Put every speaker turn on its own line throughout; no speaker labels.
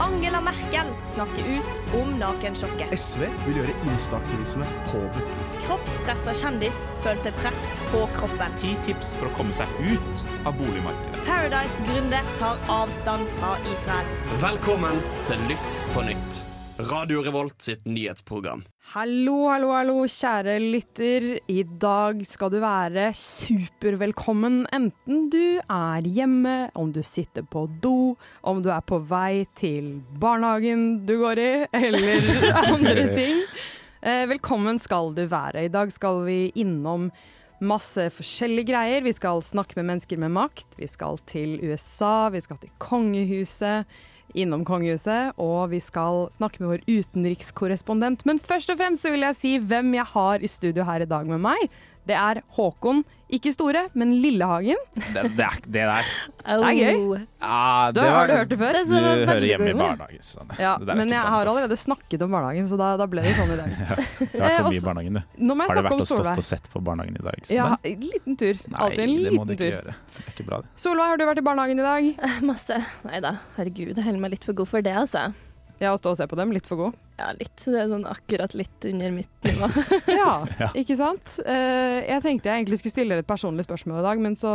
Angela Merkel snakker ut om nakensjokket.
SV vil gjøre instaktivisme påbudt.
Kroppspressa kjendis følte press på kroppen.
Ti tips for å komme seg ut av boligmarkedet.
Paradise-gründer tar avstand fra Israel.
Velkommen til Lytt på nytt. Radio Revolt sitt nyhetsprogram.
Hallo, hallo, hallo, kjære lytter. I dag skal du være supervelkommen, enten du er hjemme, om du sitter på do, om du er på vei til barnehagen du går i, eller andre ting. Eh, Velkommen skal du være. I dag skal vi innom masse forskjellige greier. Vi skal snakke med mennesker med makt, vi skal til USA, vi skal til kongehuset innom kongehuset, og vi skal snakke med vår utenrikskorrespondent. Men først og fremst så vil jeg si hvem jeg har i studio her i dag med meg. Det er Håkon, ikke Store, men Lillehagen.
Det, det, er, det der
Det er gøy.
ah,
Du, har du hørt det før?
Du hører hjemme i barnehagen. Sånn.
Ja,
Det der er
men
ikke
jeg har
barnehage, ass.
allerede snakket om barnehagen, så da, da ble det sånn i dag.
Du har vært for
Eh,
mye i
også-
barnehagen, du.
Nå må jeg
Har du
snakke
vært
om
og stått
Solveig.
og sett på barnehagen i dag?
Ja,
Solveig?
en liten tur.
Nei,
Alltid en
det må du
liten
ikke
tur.
gjøre. Det er ikke bra, det.
Solveig, har du vært i barnehagen i dag?
Masse. Nei da, herregud, jeg holder meg litt for god for det, altså.
Ja, å stå og se på dem, litt for god.
Ja, litt. Det er sånn akkurat litt under mitt nivå.
Ja, ikke sant? Eh, jeg tenkte jeg egentlig skulle stille dere et personlig spørsmål i dag, men så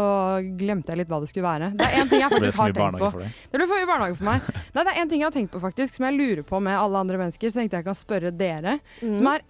glemte jeg litt hva det skulle være. Det er én ting jeg
Ble det
faktisk
for
har
mye
tenkt på.
barnehage for deg?
Det ble for mye barnehage for meg. Nei, det er en ting jeg har tenkt på faktisk, som jeg lurer på med alle andre mennesker, så tenkte jeg kan spørre dere.
Mm.
Mm.
Som er,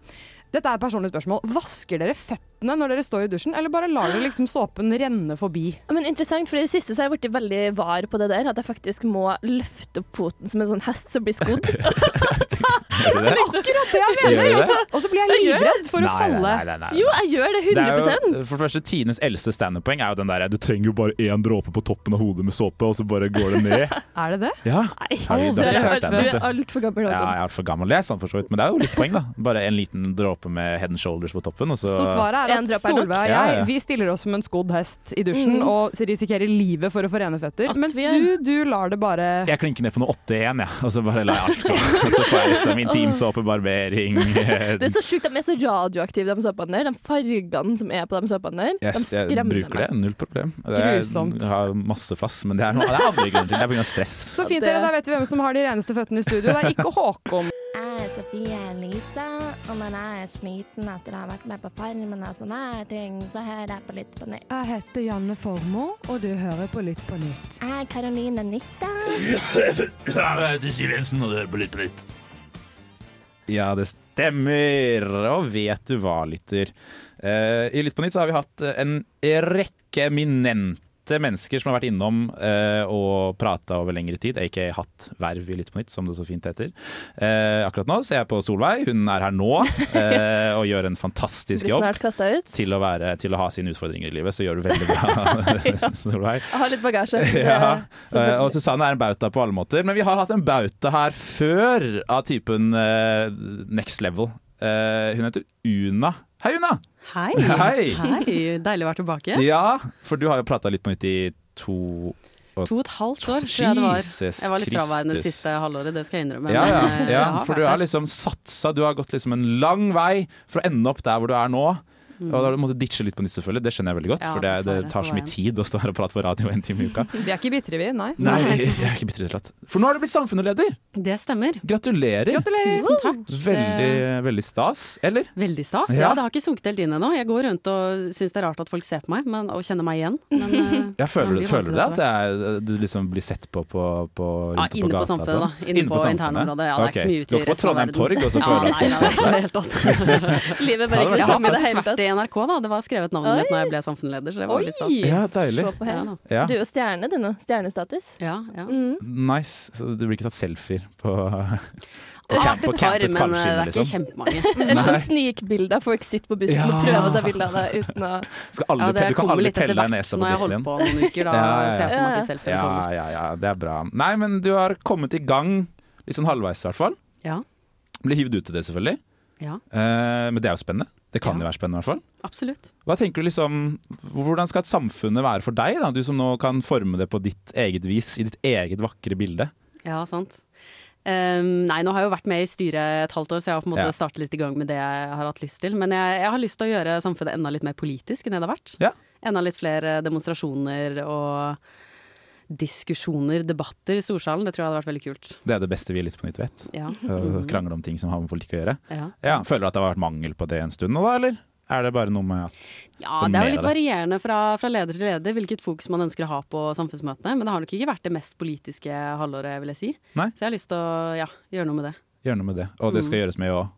dette er et personlig spørsmål. Vasker dere føttene når dere står i dusjen, eller bare lar dere liksom såpen renne forbi?
Men interessant, for i det siste så har jeg blitt veldig var på det der, at jeg faktisk må løfte opp foten som en sånn hest som blir skodd.
Gjør du det?
Akkurat det jeg
Gjør
mener!
du
Og så- Og så blir jeg
Jeg gjør
livredd liksom for å
Nei, nei,
falle.
nei, nei, nei, nei.
Jo, jeg gjør det
Det er
100
jo, for det første, Tines eldste standup-poeng er jo den der Du trenger jo bare én dråpe på toppen av hodet med såpe, og så bare går det ned.
Er det det?
Ja,
Nei,
Har du-
du
det
har
er,
jeg
hørt
du
før.
er altfor gammel.
ja jeg
Håkon.
er altfor gammel. Det er sant, for så vidt. Men det er jo litt poeng, da. Bare en liten dråpe med head and shoulders på toppen, og så
Så svaret er
En
at
dråpe er nok. Mm.
Solveig og
Ja,
jeg
ja.
vi stiller oss som en skodd hest i dusjen og risikerer livet for å få rene føtter.
At
Mens
vi er-
du, du lar det bare
jeg klinker ned på noe 8-1, ja. og så bare lar jeg alt gå. Og så får jeg liksom intimsåpe, barbering eh,
Det er så sjukt, de er så radioaktive, de såpene der. De fargene som er på de såpene der, de
Yes, jeg
skremmer
bruker det,
meg.
null problem. Det er,
Grusomt.
Jeg har masse flass, men det er, noe, det er andre grunner til. Det er pga. stress.
Så fint,
det-
dere. Da vet vi hvem som har de reneste føttene i studio. Det er ikke Håkon.
Jeg er Sofie Elise, og når jeg er sliten etter å ha vært med på Farmen og sånne her ting, så hører jeg på Lytt på nytt.
Jeg heter Janne Formoe, og du hører på Lytt på nytt.
Jeg er Karoline Nitta.
Ja, det stemmer. Og vet du hva, lytter. Eh, I Litt på nytt så har vi hatt en rekke eminente mennesker som har vært innom eh, og prata over lengre tid, aka hatt verv i Litt på nytt, som det så fint heter. Eh, akkurat nå ser jeg på Solveig, hun er her nå eh, og gjør en fantastisk
Blir
jobb.
snart kasta ut.
Til å, være, til å ha sine utfordringer i livet, så gjør du veldig bra, Solveig.
Jeg har litt bagasje.
Ja.
Det er-
eh, Og Susanne er en bauta på alle måter, men vi har hatt en bauta her før av typen eh, next level. Eh, hun heter Una. Hei, Una!
Hei.
Hei!
Deilig å være tilbake.
Ja, for du har jo prata litt på nytt i to
To og et halvt år, tror jeg det var.
Jesus
Jeg var litt fraværende det
Kristus.
siste halvåret, det skal jeg innrømme.
ja, ja,
men, eh,
ja,
jeg har
for du
vært
har
der.
liksom satsa. Du har gått liksom en lang vei for å ende opp der hvor du er nå. Og da har du måttet ditche litt på nytt, selvfølgelig. Det skjønner jeg veldig godt,
Mm. Ja,
for det, det
dessverre,
tar
på
så mye
veien.
tid å stå her og prate på radio en time i uka.
Vi er ikke bitre, vi. Nei.
Nei, jeg er ikke bitter i det hele tatt. For nå har du blitt samfunnsleder!
Det stemmer.
Gratulerer!
Tusen takk. Eh,
Veldig, veldig stas, eller?
Veldig stas.
Ja.
Ja, det har ikke sunket helt inn ennå. Jeg går rundt og syns det er rart at folk ser på meg men, og kjenner meg igjen. Men, eh,
Ja, føler,
man
du-
blir vant
føler
til
du det? At det er, du liksom blir sett på, på, på
Ja,
rundt
inne på
gata og
samfunnet,
sånn?
da. Inne på internområdet. Ja, det er ikke så mye ute
Du
i
går ikke på
resten
Trondheim
av verden.
Torg og så føler du at
nei,
folk
nei,
ser på
nei,
deg?
i det hele tatt.
Livet
Ja,
bare
det var
ikke det
Jeg har
samme i det
faktisk
hele
vært
tatt.
i NRK, da. Det var skrevet navnet mitt når jeg ble samfunnsleder, så det var veldig stas.
Ja, deilig.
Se på
Ja,
her.
da.
Ja.
Du er jo stjerne, du nå. Stjernestatus.
ja, ja.
Mm. Nice. Så du blir ikke tatt selfier på, på,
Jeg har
camp,
vært
på
et par,
campus
men eh,
kanskje?
det er ikke
Liksom.
kjempemange.
Eller sånn snikbilder. Folk sitter på bussen og
Ja.
prøver å ta bilde av deg uten å
Skal alle,
Ja, det
pe- du kan
kommer
alle
litt etter
pelle deg
hvert
nesa
når
på
jeg har
bussen
holdt
din.
på noen uker. Da
Ja, ja, ja.
ser jeg for meg at de
Ja,
selvfølgelig kommer.
ja, ja, det er bra. Nei, men du har kommet i gang, litt sånn halvveis i hvert fall.
Ja,
Blir hivd ut til det, selvfølgelig.
ja,
Eh, men det er jo spennende. Det kan
Ja.
jo være spennende, i hvert fall.
absolutt.
Hva tenker du liksom, Hvordan skal et samfunnet være for deg, da? du som nå kan forme det på ditt eget vis, i ditt eget vakre bilde?
Ja, sant. Ehm, nei, nå har jeg jo vært med i styret et halvt år, så jeg har på en måte
Ja.
startet litt i gang med det jeg har hatt lyst til. Men jeg, jeg har lyst til å gjøre samfunnet enda litt mer politisk enn det det har vært.
Ja.
Enda litt flere demonstrasjoner og diskusjoner, debatter i storsalen. Det tror jeg hadde vært veldig kult.
Det er det beste vi i Litt på nytt vet.
Ja.
Å
Mm.
Krangle om ting som har med politikk å gjøre.
Ja.
Ja, Føler du at det har vært mangel på det en stund nå, da, eller? Er det bare noe med at
ja,
Kom
det er
med
jo litt
det.
varierende fra, fra leder til leder hvilket fokus man ønsker å ha på samfunnsmøtene, men det har nok ikke vært det mest politiske halvåret, vil jeg si.
Nei.
Så jeg har lyst til å ja, gjøre noe med det.
gjøre noe med det? Og det
Mm.
skal gjøres med å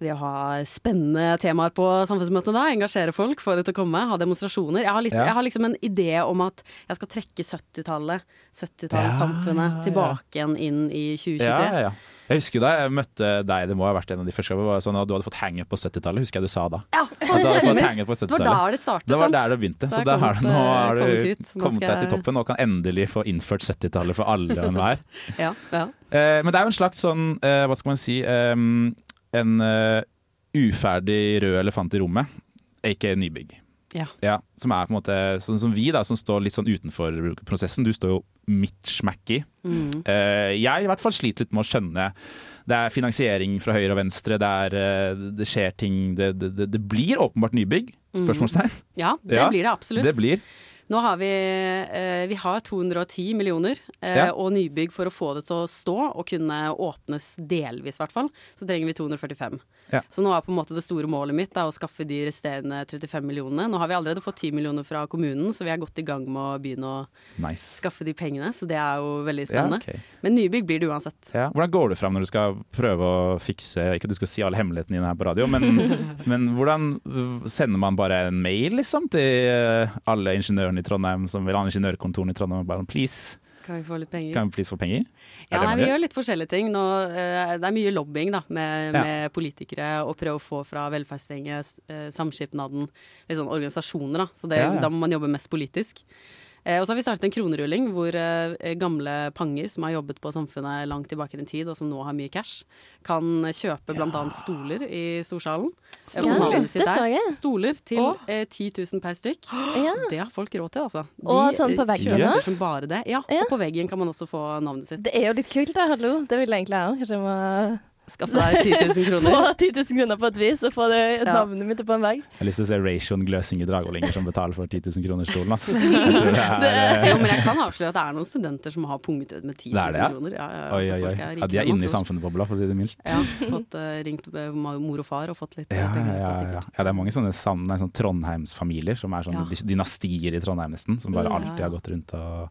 Ved å ha spennende temaer på samfunnsmøtene da, engasjere folk, få de til å komme, ha demonstrasjoner. Jeg har, litt,
Ja.
jeg har liksom en idé om at jeg skal trekke 70-tallet,
Ja,
70-tallssamfunnet
ja.
tilbake igjen inn i 2023.
ja, ja, ja. Jeg husker da jeg møtte deg, det må ha vært en av de første gangene, sånn, at du hadde fått hangup på 70-tallet, husker jeg du sa da.
Ja,
At du hadde fått
stemmer.
hangup på
Det var
70-tallet.
da det startet.
Det var
sant?
der det begynte,
Så
så,
jeg
da
har
har du,
kommet,
nå
eh,
har du
kommet
kommet,
hit. Nå skal
deg til
jeg-
toppen og kan endelig få innført 70-tallet for alle og enhver.
Ja, ja.
Eh, men det er jo en slags sånn, eh, hva skal man si, eh, en eh, uferdig rød elefant i rommet, aka nybygg.
Ja.
som er på en måte sånn som vi, da, som står litt sånn utenfor prosessen. Du står jo midt smack i.
Mm.
Eh, jeg i hvert fall sliter litt med å skjønne. Det er finansiering fra høyre og venstre, det, er, eh, det skjer ting Det, det, det- det blir åpenbart nybygg?
Mm.
Spørsmålstegn.
ja det
Ja,
blir det absolutt.
Det blir.
Nå har vi, eh, vi har 210 millioner eh,
Ja.
og nybygg for å få det til å stå og kunne åpnes delvis, i hvert fall. Så trenger vi 245.
Ja.
Så nå er på en måte det store målet mitt da, å skaffe de resterende 35 millionene. Nå har vi allerede fått 10 millioner fra kommunen, så vi er godt i gang med å begynne å
Nice.
skaffe de pengene. Så det er jo veldig
Ja,
spennende.
ok.
Men nybygg blir det uansett.
Ja. Hvordan går du fram når du skal prøve å fikse Ikke at du skal si alle hemmelighetene dine her på radio, men, men hvordan øh, sender man bare en mail liksom til øh, alle ingeniørene i Trondheim som vil ha ingeniørkontorene i Trondheim? Bare please,
Kan vi få litt penger?
kan vi please få penger? Er det
Ja, nei,
man
vi gjør litt forskjellige ting. Nå, eh, det er mye lobbying da, med,
Ja.
med politikere, og prøve å få fra velferdstinget, s- eh, samskipnaden, litt sånn organisasjoner. Da. Så det,
Ja, ja.
da må man jobbe mest politisk. Eh, og så har vi startet en kronerulling hvor eh, gamle panger som har jobbet på samfunnet langt tilbake i den tid, og som nå har mye cash, kan kjøpe bl.a. annet stoler i storsalen. Eh, på
Ja,
navnet sitt
det
der.
så jeg.
Stoler til
Å.
eh, 10 000 per stykk.
Ja.
Det har folk råd til, altså.
Og sånn på
eh,
veggen
kjøper
også?
som bare det. Ja,
Ja.
og på veggen kan man også få navnet sitt.
Det er jo litt kult, da. Hallo. Det vil egentlig jeg òg. Kanskje jeg må
Skaffe deg 10 000 kroner.
få 10 000 kroner på et vis og få det
Ja.
navnet mitt på en vegg.
Jeg har lyst til å se Ration Gløsing i Dragvoll-Inger som betaler for 10 000 kroner stolen, ass. Jeg tror det er, øh,
Jo, men jeg kan avsløre at det er noen studenter som har punget ut med 10
Det er
000
det, ja.
kroner. Ja, ja,
Oi,
altså,
oi, oi.
folk rikere
Ja, de er
enn man
inne i
tror.
samfunnet-bobla, for å si det mildt.
Ja, fått eh, ringt eh, mor og far og fått litt eh,
Ja, ja,
penger.
ja,
derfra,
ja.
sikkert.
ja, det er mange sånne, sam- nei, sånne Trondheimsfamilier som er sånne
Ja.
dy- dynastier i Trondheim nesten, som bare
Mm, ja,
alltid
ja.
har gått rundt og,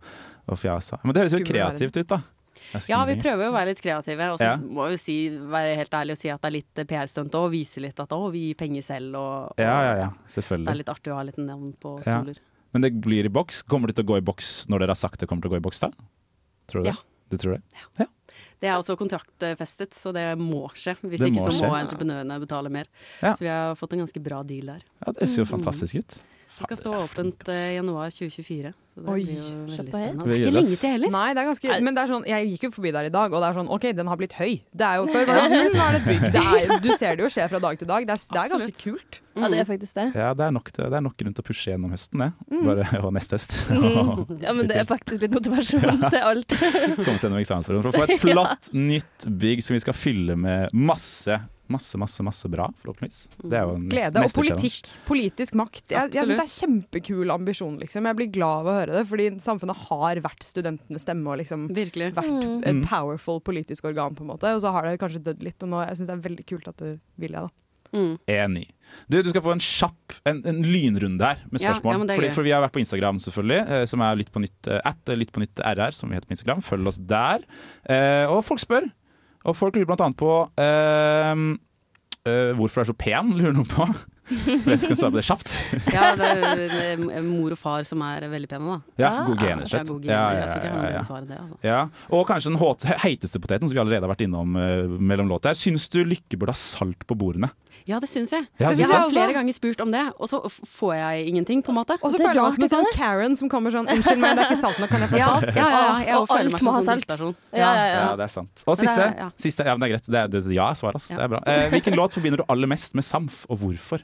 og fjasa. Men det høres jo
Skummel verden.
kreativt ut, da. Det er
Ja, vi
skumle ting.
prøver jo å være litt kreative, og så
Ja.
må jeg jo si, være helt ærlig og si at det er litt eh, PR-stunt òg, og vise litt at å, vi gir penger selv, og, og
Ja, ja, ja,
det er
selvfølgelig.
litt artig å ha litt navn på
Ja.
stoler.
Men det blir i boks. Kommer det til å gå i boks når dere har sagt det kommer til å gå i boks, da? Tror du det?
Ja.
Du tror det?
Det er også kontraktfestet, så det må skje. Hvis
Det
ikke
må
så må
skje.
entreprenørene betale mer.
Ja.
Så vi har fått en ganske bra deal der.
Ja, det ser jo fantastisk ut.
Mm. Det skal stå åpent eh, januar 2024, så det
Oi.
blir jo
Kjapt
veldig
på her.
spennende. Det
Vi
er
gjør
ikke
det,
lenge
ass.
til heller.
Nei, det er ganske
Nei.
Men det er sånn, jeg gikk jo forbi der i dag, og det er sånn OK, den har blitt høy. Det er jo Før var det hull, nå er det et bygg. Det er, du ser det jo skje fra dag til dag. Det er, det er ganske kult.
Ja, det er faktisk det.
Ja, det er nok, til- det er nok grunn til å pushe gjennom høsten, det.
Mm.
Bare, og neste høst. Og
Ja, men det er faktisk litt motivasjon til alt.
komme seg gjennom eksamensperioden for å få et flott, nytt bygg som vi skal fylle med masse, masse, masse masse bra, forhåpentligvis. Det er jo nest-
Glede og
neste challenge.
politikk. Politisk makt. Jeg, jeg syns det er kjempekul ambisjon, liksom. Jeg blir glad av å høre det, fordi samfunnet har vært studentenes stemme og liksom
Virkelig.
vært
Mm.
et powerful politisk organ, på en måte. Og så har det kanskje dødd litt, og nå jeg syns det er veldig kult at du vil det, da.
Mm.
Enig. Du, du skal få en kjapp en, en lynrunde her med
Ja,
spørsmål.
ja, men det er
Fordi,
gøy.
for vi har vært på Instagram, selvfølgelig, eh, som er litt på nytt eh, at eh, litt på nytt RR, som vi heter på Instagram. Følg oss der. Eh, og folk spør. Og folk lurer blant annet på eh, eh, hvorfor du er så pen, lurer noen på. Hvem skal svare på det kjapt?
Ja, det er det er mor og far som er veldig pene, da.
Ja, gode
Ja,
gener,
det er
slett.
gode
Ja,
gener. Jeg
ja,
tror ikke jeg har
ja,
noe
ja.
bedre svar enn det, altså.
Ja, Og kanskje den hot- heiteste poteten som vi allerede har vært innom eh, mellom låter. Syns du Lykke burde ha salt på bordene?
Ja, det syns jeg.
Ja,
For
det
jeg
syns jeg
har
også.
flere ganger spurt om det, og så f- får jeg ingenting, på en måte.
Og så
Det er
føler jeg
rart,
meg som en sånn
det
Karen som kommer sånn Unnskyld meg, det er ikke salt nok, kan jeg få
Ja,
salt?
ja, ja, ja. Jeg
Og
føler
alt må
meg som
ha
en sånn
salt.
drittperson.
Ja, ja,
Ja,
ja.
det er sant. Og
Men det
siste.
er- ja.
siste ja, men det er greit. Det er, det, ja, er svar, ass.
Ja.
Det er bra. Eh, hvilken låt forbinder du aller mest med Samf, og hvorfor?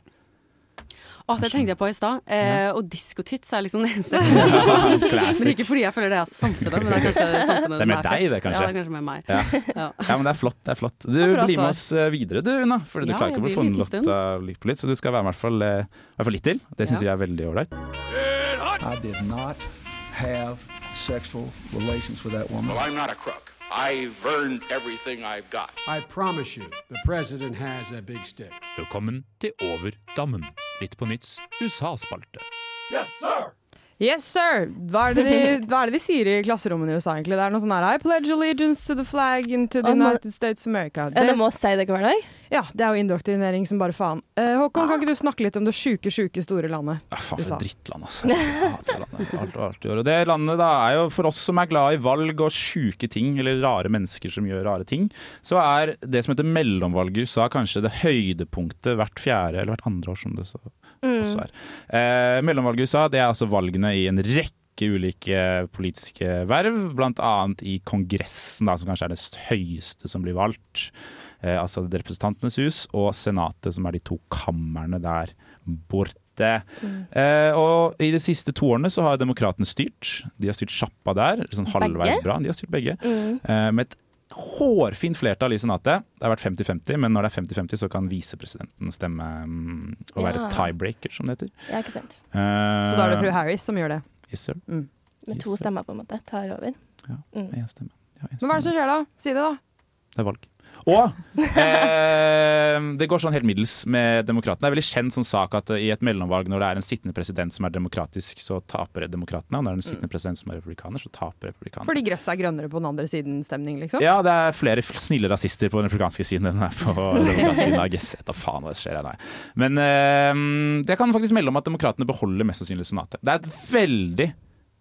Å, det tenkte jeg på i stad. Eh, og diskotits er liksom det eneste. Men
Classic.
ikke fordi jeg føler det er samfunnet, men det er kanskje samfunnet
Det er mer
som
deg, det, kanskje.
Ja, det er kanskje mer meg.
Ja.
Ja.
ja, men det er flott. det er flott Du
Det var bra
blir med
svar.
oss eh, videre, du, Una. Fordi du
Ja,
klarer ikke å bli
jeg blir en liten
funnet av litt på litt, så du skal være med i hvert fall, eh, i hvert fall litt til. Det syns jeg er veldig ålreit.
I did not have sexual relations with that woman.
I'm not a crook. I've earned everything I've got.
I promise you, the president has a big stick.
Velkommen til Over dammen. Litt på nytts USA-spalte.
Yes, sir! Hva er, det de, hva er det de sier i klasserommene i USA, egentlig? Det er noe sånn her I pledge allegiance to the flag and to the
Å, må-
United States of America.
Ja, de må si det hver dag.
ja, det er jo indoktrinering som bare faen. Eh, Håkon, kan ikke du snakke litt om det sjuke, sjuke store landet?
Ja, faen, for
USA.
et drittland, altså. Jeg hater landet. Alt, alt, alt. Og det landet da er jo, for oss som er glad i valg og sjuke ting, eller rare mennesker som gjør rare ting, så er det som heter mellomvalget i USA kanskje det høydepunktet hvert fjerde eller hvert andre år, som det så også er. Eh, mellomvalget i USA det er altså valgene i en rekke ulike politiske verv, bl.a. i Kongressen, da, som kanskje er det høyeste som blir valgt. Eh, altså Representantenes hus og Senatet, som er de to kammerne der borte. Eh, og I de siste to årene så har demokratene styrt. De har styrt sjappa der, sånn halvveis
Begge?
bra. De har styrt begge.
Mm.
Eh, med et hårfint flertall i Senatet. Det har vært 50-50, men når det er 50-50 så kan visepresidenten stemme mm, og være
Ja.
tiebreaker, som det heter.
Ja, ikke sant.
Eh,
Så da er det fru Harris som gjør det.
Yes, sir.
Med to
Yes.
stemmer, på en måte. Tar over.
Med én stemme. Ja, én
Men hva er
stemme.
det som skjer da? Si det, da.
Det er valg. Og eh, det går sånn helt middels med demokratene. Det er veldig kjent sånn sak at eh, i et mellomvalg, når det er en sittende president som er demokratisk, så taper demokratene. Og når det er en
Mm.
sittende president som er republikaner, så taper republikanerne.
Fordi gresset er grønnere på den andre siden stemning, liksom?
Ja, det er flere f- snille rasister på den republikanske siden enn det er på den demokratiske siden. Jeg vet da faen hva som skjer her, nei. Men eh, jeg kan faktisk melde om at demokratene beholder mest sannsynlig senatet. Det er et veldig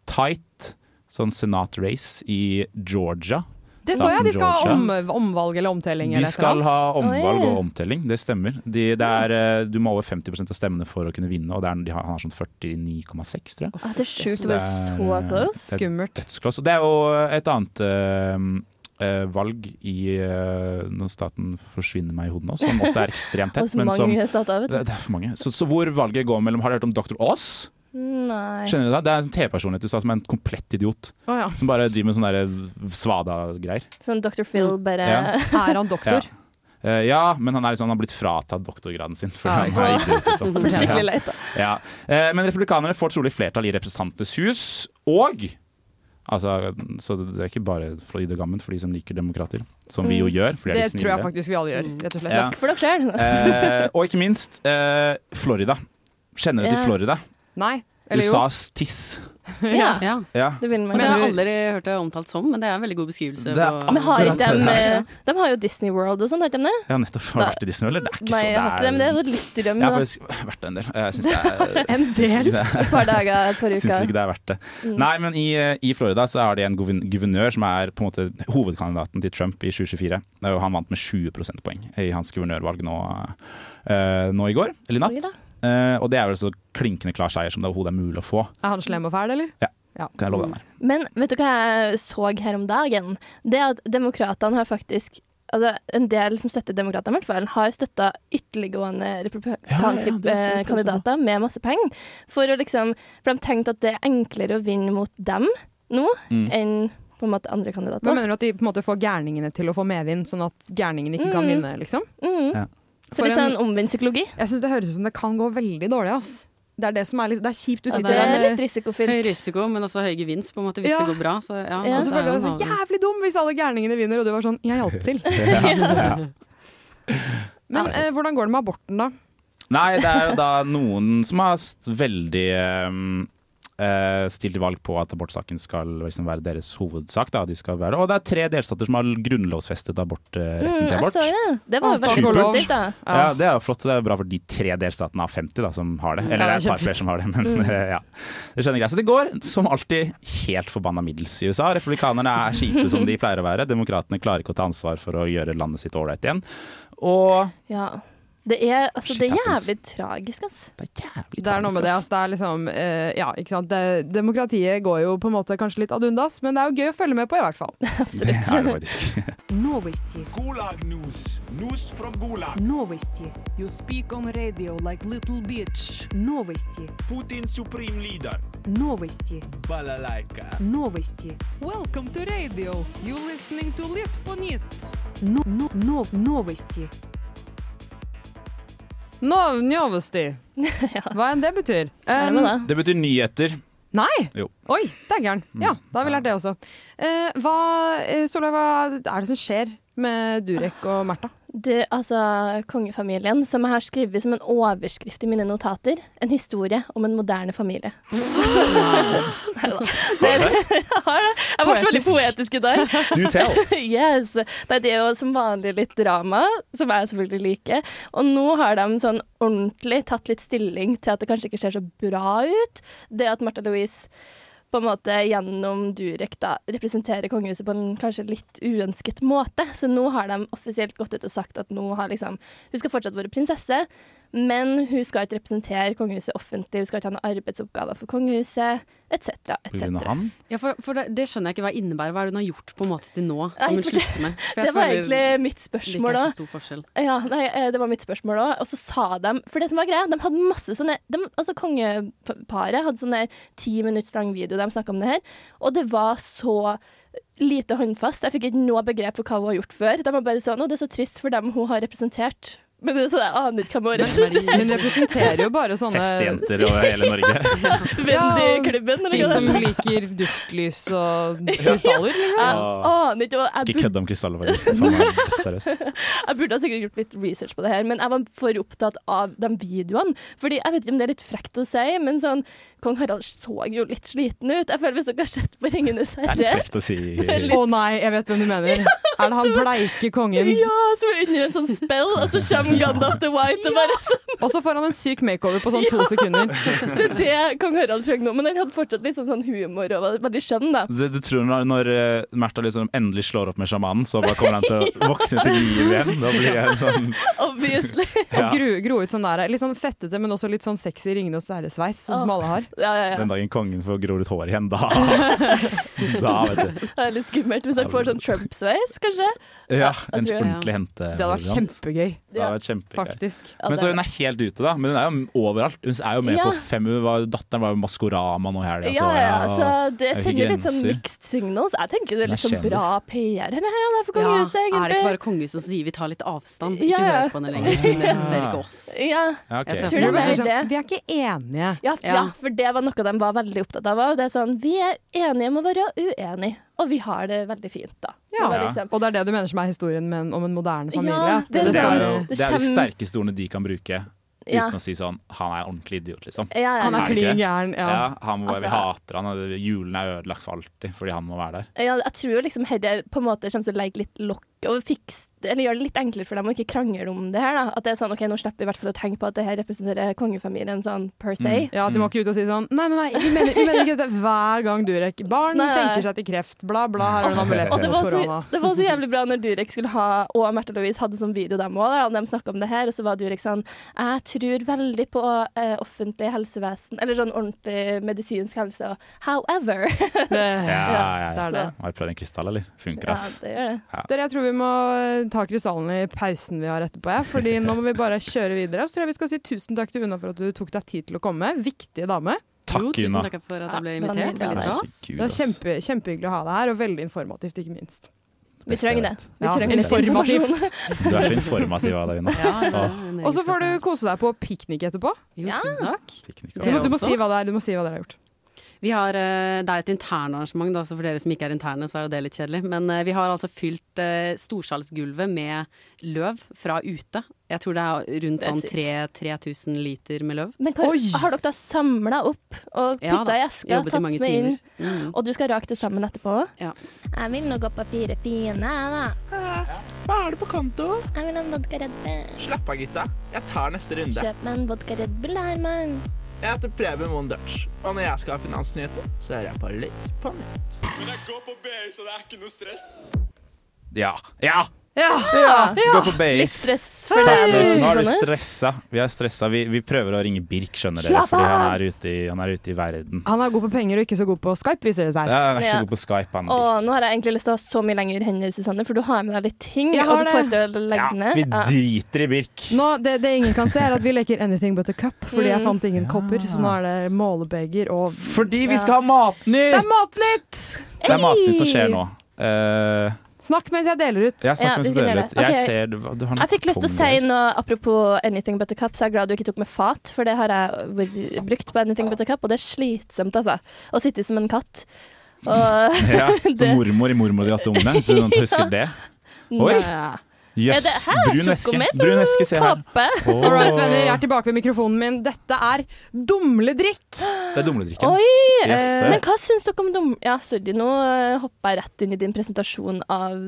tight sånn senat-race i Georgia.
Det så jeg! De skal ha om,
Georgia.
omvalg eller omtelling
De
eller et
skal
eller annet.
ha omvalg
Oi.
og omtelling, det stemmer. De, det er, eh, du må over 50 av stemmene for å kunne vinne, og det er, de har, han har sånn 49,6, tror jeg.
Ah, det er sjukt
Så
å være
det
så
er-
close.
Det er
Skummelt.
dødsklass. Og det er jo et annet eh, eh, valg i eh, når staten forsvinner meg i hodet nå, som også er ekstremt tett.
Hos
men som,
mange stater, vet
det,
du.
det er for mange. Så, så hvor valget går mellom Har dere hørt om Dr. Oz?
Nei.
Skjønner du Det Det er en TV-personlighet du sa som er en komplett idiot.
Å ja.
Som bare driver med sånne der eh, svada-greier.
Sånn Dr. Phil
Mm.
bare
Ja.
Er han doktor?
Eh, ja, men han, er liksom, han har blitt fratatt doktorgraden sin. For
Ja,
han
ikke
er idiot, liksom.
Ah, Det er skikkelig
Ja.
leit, da.
Ja. Eh, Men republikanere får trolig flertall i Representantenes hus, og Altså, så det er ikke bare fløyd og gammen for de som liker demokrater, som vi jo
Mm.
gjør. For de er
Det
litt
tror jeg
snillere.
faktisk vi alle gjør, rett og slett.
liksom Ja.
Snakk for dere sjøl.
Eh, og ikke minst eh, Florida. Kjenner dere
Ja.
til Florida?
Nei. Eller jo.
USAs tiss.
Ja,
Ja.
Ja.
det vil man
Men det
jo.
har jeg aldri hørt det omtalt som, men det er en veldig god beskrivelse.
Det er
på-
Men har ikke
Akkurat
dem,
det
eh, de har jo Disney World og sånn, har ikke de det?
ja, nettopp. Har du vært i Disney, eller? Det er ikke
Nei, jeg har ikke det,
så
men det er
det er
jo litt drøm.
Jeg har
da.
faktisk vært der en del. Jeg syns det er
En del?
det er-
Et par dager, et par
Syns
uker.
ikke det er verdt det.
Mm.
Nei, men i, eh, i Florida så har de en guvern- guvernør som er på en måte hovedkandidaten til Trump i 2024. Og han vant med 20 prosentpoeng i hans guvernørvalg nå, eh, nå i går, eller i
Oi
natt.
da.
Eh, og det er vel så klinkende klar seier som det overhodet er mulig å få.
Er han slem og fæl, eller?
Kan jeg love deg.
Men vet du hva jeg så her om dagen? Det er at demokratene har faktisk Altså, en del som støtter demokratene, i hvert fall, har støtta ytterliggående republikanske
Ja, ja, det ser jeg
eh,
på
kandidater med masse penger. For, å liksom, for de tenkte at det er enklere å vinne mot dem nå
Mm.
enn på en måte andre
Hva
kandidater.
mener du at de på en måte får gærningene til å få medvind, sånn at gærningene ikke kan
Mm.
vinne, liksom?
Mm.
Ja.
Så
For
litt
en-
sånn omvendt psykologi.
Jeg syns det høres ut som det kan gå veldig dårlig, ass. Det er det som er litt Det er kjipt. Du
Ja,
sitter
Det er
der
litt
med
Høy
risikofylt.
risiko, men også høy gevinst, på en måte, hvis
Ja.
det går bra. Så, sånn, ja, Altså,
Ja.
Og så
det
Altså,
er
føler du
jo
deg så
en annen-
jævlig dum hvis alle gærningene vinner, og du var sånn Jeg hjalp til. Men eh, hvordan går det med aborten, da?
Nei, det er jo da noen som har st- veldig ehm, eh, stilt til valg på at abortsaken skal liksom være deres hovedsak. Da. De skal være. Og det er tre delstater som har grunnlovsfestet abort, eh, retten
Mm,
til
jeg
abort.
så det. Det var
Avtalen
veldig
går lov.
positivt, da.
Ja, Det er jo flott. Det er jo bra for de tre delstatene av 50 da, som har det. Eller
Mm. Ja, Mm.
det
det
er
er
et par flere som har det, men ja. Det skjønner greit. Så det går som alltid helt forbanna middels i USA. Republikanerne er kjipe som de pleier å være. Demokratene klarer ikke å ta ansvar for å gjøre landet sitt ålreit igjen. Og
Ja. Det er, altså,
Shit
det er
happens.
jævlig tragisk, ass.
det er jævlig
Det er noe med det.
tragisk,
ass. Det er liksom eh, Ja, ikke sant. Det, demokratiet går jo på en måte kanskje litt ad undas, men det er jo gøy å følge med på, i hvert fall.
ass. Det er det faktisk.
Новости. Новости. You speak on radio like little bitch. Новости. Новости. Новости.
Welcome to radio. You listening to Litt på nytt.
Но, но, но, новости.
Novnjovosti. Hva enn det betyr.
Er det
Um,
med det?
Det betyr nyheter.
Eh, Nei!
Jo.
Oi, dægger'n. Ja, da har vi lært det også. Eh, hva, eh, Solveig, hva er det som skjer med Durek og Märtha?
Du, altså kongefamilien, som jeg har skrevet som en overskrift i mine notater. En historie om en moderne familie. Nei da. Det- Jeg har det. Jeg ble veldig poetisk i dag.
Do tell.
yes. Nei, det er jo som vanlig litt drama, som jeg selvfølgelig liker. Og nå har de sånn ordentlig tatt litt stilling til at det kanskje ikke ser så bra ut. Det at Martha Louise på en måte gjennom Durek da, representerer kongehuset på en kanskje litt uønsket måte. Så nå har de offisielt gått ut og sagt at nå har liksom, hun skal fortsatt være prinsesse, men hun skal ikke representere kongehuset offentlig, hun skal ikke ha noen arbeidsoppgaver for kongehuset, etc.
På grunn av han?
Ja, for, for det, det skjønner jeg ikke hva innebærer. Hva er det hun har gjort på en måte til nå?
Nei,
Som hun
for det-
slutter med? For jeg
Det var
føler
egentlig mitt
Det
spørsmål
ikke
da.
er så stor forskjell.
Ja, nei, eh, det var mitt spørsmål òg. Og så sa de For det som var greia, de hadde masse sånne de, Altså kongeparet hadde sånn der ti minutts lang video der de snakka om det her, og det var så lite håndfast. Jeg fikk ikke noe begrep for hva hun har gjort før. De var bare sånn Å, det er så trist for dem hun har representert. Men det er sånn, jeg aner ikke hva hun har representert.
Hun representerer jo bare sånne
Hestejenter over hele Norge.
Wendy-klubben, eller
De
hva
som
det
liker duftlys og krystaller.
Jeg
Ja.
aner ikke, og jeg
Ikke
burde
kødd om krystaller, faktisk. Faen, jeg er dødsseriøs.
jeg burde ha sikkert gjort litt research på det her, men jeg var for opptatt av de videoene. Fordi jeg vet ikke om det er litt frekt å si, men sånn Kong Harald så jo litt sliten ut. Jeg føler hvis dere har sett på 'Ringenes
Det er litt
herre'
frekt å si.
Å nei, jeg vet hvem du mener. Er det han bleike kongen?
Ja, som er under en sånn spell, og så kommer Gandalf the White og bare sånn
Og så får han en syk makeover på sånn to
Ja.
sekunder.
Det er det kong Harald trenger nå. Men han hadde fortsatt liksom sånn humor og var veldig skjønn, da.
Du, du tror når, når eh, Märtha liksom endelig slår opp med sjamanen, så bare kommer han til å våkne til liv igjen? Da blir jeg sånn
Obviously.
Ja.
Og gro, gro ut sånn der, litt sånn fettete, men også litt sånn sexy Ringenes herre-sveis, sånn som alle har.
Ja, ja, ja.
Den dagen kongen får gror ut hår igjen, da Da, vet du.
Det er litt skummelt hvis han får sånn Trump-sveis, kanskje.
Ja,
jeg
en
tror-
ordentlig
ja.
hente.
Det hadde vært kjempegøy.
Det hadde vært kjempegøy.
Faktisk.
Men så hun er helt ute, da. Men hun er jo overalt. Hun er jo med
Ja.
på fem hun var, Datteren var jo Maskorama nå i helga.
Ja, ja, så det
er jo ikke
sender litt sånn
grenser.
mixed signals. Jeg tenker jo
Hun
det er
er
litt sånn
kjendis.
bra PR her, her, her for
Ja,
kongehuset,
er det ikke
egentlig.
bare kongehuset som sier vi tar litt avstand?
Ja,
Ikke
ja.
hør på henne lenger. Hun representerer ikke oss.
Ja.
Ja, ok.
Jeg ser
Tror
for
du
meg-
det er det?
Vi er sånn- ikke enige.
Ja, ja. for det var noe de var veldig opptatt av. Og det er sånn, Vi er enige om å være uenige, og vi har det veldig fint, da.
Ja.
Det var liksom,
Og det er det du mener som er historien med en, om en moderne familie?
Ja,
at
det-
Det
skal
er,
være-
jo,
det
det er de
kjem-
sterkeste ordene de kan bruke uten
Ja.
å si sånn Han er en ordentlig idiot, liksom.
Ja, ja, ja. Han er
det ikke?
klin gæren, ja.
han må bare, Vi
Altså-
hater han, og julen er ødelagt for alltid fordi han må være der.
ja, jeg tror jo liksom Herre på en måte kommer til å legge litt lokk og fikse eller gjøre det litt enklere for dem å ikke krangle om det her. da. At det er sånn, ok, Nå slipper vi i hvert fall å tenke på at det her representerer kongefamilien sånn per se.
Mm.
Ja, De må ikke ut og si sånn Nei, nei, nei, vi mener, vi mener ikke dette hver gang Durek Barn
Nei, nei.
tenker seg til kreft, bla, bla, her er det en amulett
Og det
mot
var, så,
korona.
det var så jævlig bra når Durek skulle ha og Märtha Louise hadde sånn video dem òg, og de snakka om det her, og så var Durek sånn Jeg tror veldig på eh, offentlig helsevesen, eller sånn ordentlig medisinsk helse, og however
Det,
Ja, ja, ja.
det er det.
Har du prøvd en krystall, eller? Funker,
Ja,
ass.
det gjør det.
Dere, jeg tror vi må eh, ta krystallen i pausen vi har etterpå, jeg, Fordi nå må vi bare kjøre videre. Så tror jeg vi skal si tusen takk til Una for at du tok deg tid til å komme. Viktige dame.
Takk,
Jo, tusen
Una.
takk for at jeg ble
Ja, det var
invitert.
nydelig.
Veldig stas.
Det var kjempe, kjempehyggelig å ha deg her, og veldig informativt, ikke minst.
Vi trenger det. Vi
Ja,
trenger litt
informativt.
informasjon.
Du er så informativ av deg, Una. Åh,
Og så får du kose deg på piknik etterpå.
Jo, tusen takk.
piknik.
Du må, du, må
også.
si hva det er, du må si hva dere har gjort.
Vi har, eh, det er et internarrangement, da, så for dere som ikke er interne, så er jo det litt kjedelig. Men eh, vi har altså fylt eh, storsalsgulvet med løv fra ute. Jeg tror det er rundt
Det er
sånn
sykt.
tre- 3000 liter med løv.
Men hva,
Oi.
har dere da samla opp og
Ja da,
putta i eska,
jobbet i
tatt
mange
med inn,
timer. Mm.
og du skal rake det sammen etterpå?
Ja.
Jeg vil nå gå på fire piene, da.
Hva er det på konto?
Jeg vil ha en vodka Red Bull.
Slapp av, gutta. Jeg tar neste runde.
Kjøp meg en vodka Red Bull, da, Herman.
Jeg heter Preben Moen Dutch, og når jeg skal ha finansnyheter, så hører jeg på litt på nett. Men jeg går på BI, så det er ikke noe stress.
Ja! Ja!
Ja!
Gå på BI.
Litt stress
Takk,
for
Knut. Nå er du
Sånn, eh?
stressa. Vi er stressa. Vi, vi prøver å ringe Birk, skjønner dere,
Slapp
fordi han
av!
er ute i, han er ute i verden.
Han er god på penger og ikke så god på Skype, viser det
Ja,
seg.
han er ikke
Ja.
så god på Skype, han
Og
Birk.
nå har jeg egentlig lyst til å ha så mye lenger hender, Susanne, for du har med deg litt ting.
Jeg har
Og du får
det.
til å legge
Ja,
den ned.
vi
Ja.
driter i Birk.
Nå, det, det ingen kan se, er at vi leker 'anything but a cup', fordi jeg fant ingen kopper. Så nå er det målebeger og
Fordi vi skal ha Matnytt!
Det er Matnytt!
Det er Matnytt som skjer nå. Eh,
Snakk mens jeg deler ut.
Jeg snakker mens du deler ut. Jeg ser du, du har noe
Jeg fikk lyst til å
tongue
si
der.
noe apropos Anything But A Cup, så jeg er glad du ikke tok med fat, for det har jeg vært- brukt på Anything But A Cup, og det er slitsomt, altså. Å sitte som en katt. Og
Ja,
det-
Som mormor i 'Mormor de åtte ungene', så du husker det? Oi!
Nei.
Jøss,
Er det her
brun væske.
sjokomelk?
Brun væske, se her.
Kåpe?
Åh.
All right, venner, jeg er tilbake ved mikrofonen min. Dette er dumledrikk.
Det er dumledrikken.
Oi!
Yes,
eh,
sir.
Men hva syns dere om dum... Ja, sorry, nå hoppa jeg rett inn i din presentasjon av,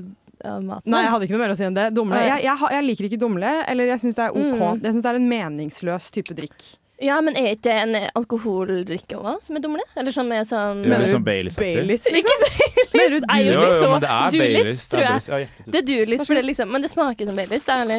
av maten.
Nei, jeg hadde ikke noe mer å si enn det. Dumle.
Nei.
Jeg, jeg, ha- jeg liker ikke dumle, eller jeg syns det er OK.
Mm.
Jeg syns det er en meningsløs type drikk.
Ja, men er ikke det en alkoholdrikke også som er dumle? Eller som er sånn
Jo, Mener liksom du Baileys-aktig. Baileys,
liksom? Ikke
du-
Baileys!
Jo, jo, men det er Baileys, det er
tror
Baileys. Ja,
jeg.
hjertet.
Det er Dulis, for det er liksom, men det smaker som Baileys. Det er ærlig.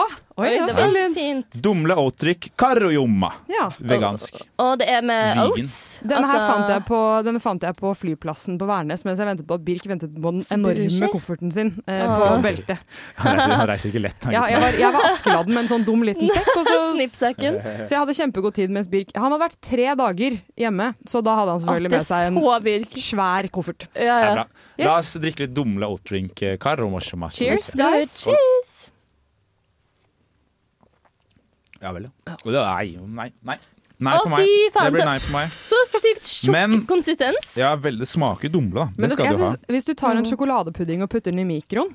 oi, ja,
det var
fin
fint.
Dumle oatdrikk karojomma.
Ja.
Vegansk.
Og det er med
Vegan.
oats.
Denne, her
Altså-
fant jeg på, denne fant jeg på flyplassen på Værnes mens jeg ventet på at Birk ventet på den
Spruskje?
enorme kofferten sin eh, på
Åh.
beltet.
Han reiser, han reiser ikke lett. han
Ja,
gutten
jeg,
her.
var, jeg var Askeladden med en sånn dum liten sekk. Og så,
Snippsekken.
så jeg hadde kjempegod tid mens Birk Han hadde vært tre dager hjemme, så da hadde han selvfølgelig med seg en svær koffert.
Det er bra. La oss drikke litt dumle oatdrink. eh, karojomma.
Cheers,
Ja,
guys.
Cheers.
Ja vel, ja. Og det- Nei, nei. nei. Nei
Å,
på meg.
fy faen,
Det blir
så-
nei på meg.
Så sykt tjukk
Men-
konsistens.
Ja, vel, det smaker dumle, da.
Men
Det
det,
skal
jeg
du ha.
synes, hvis du tar en sjokoladepudding og putter den i mikroen,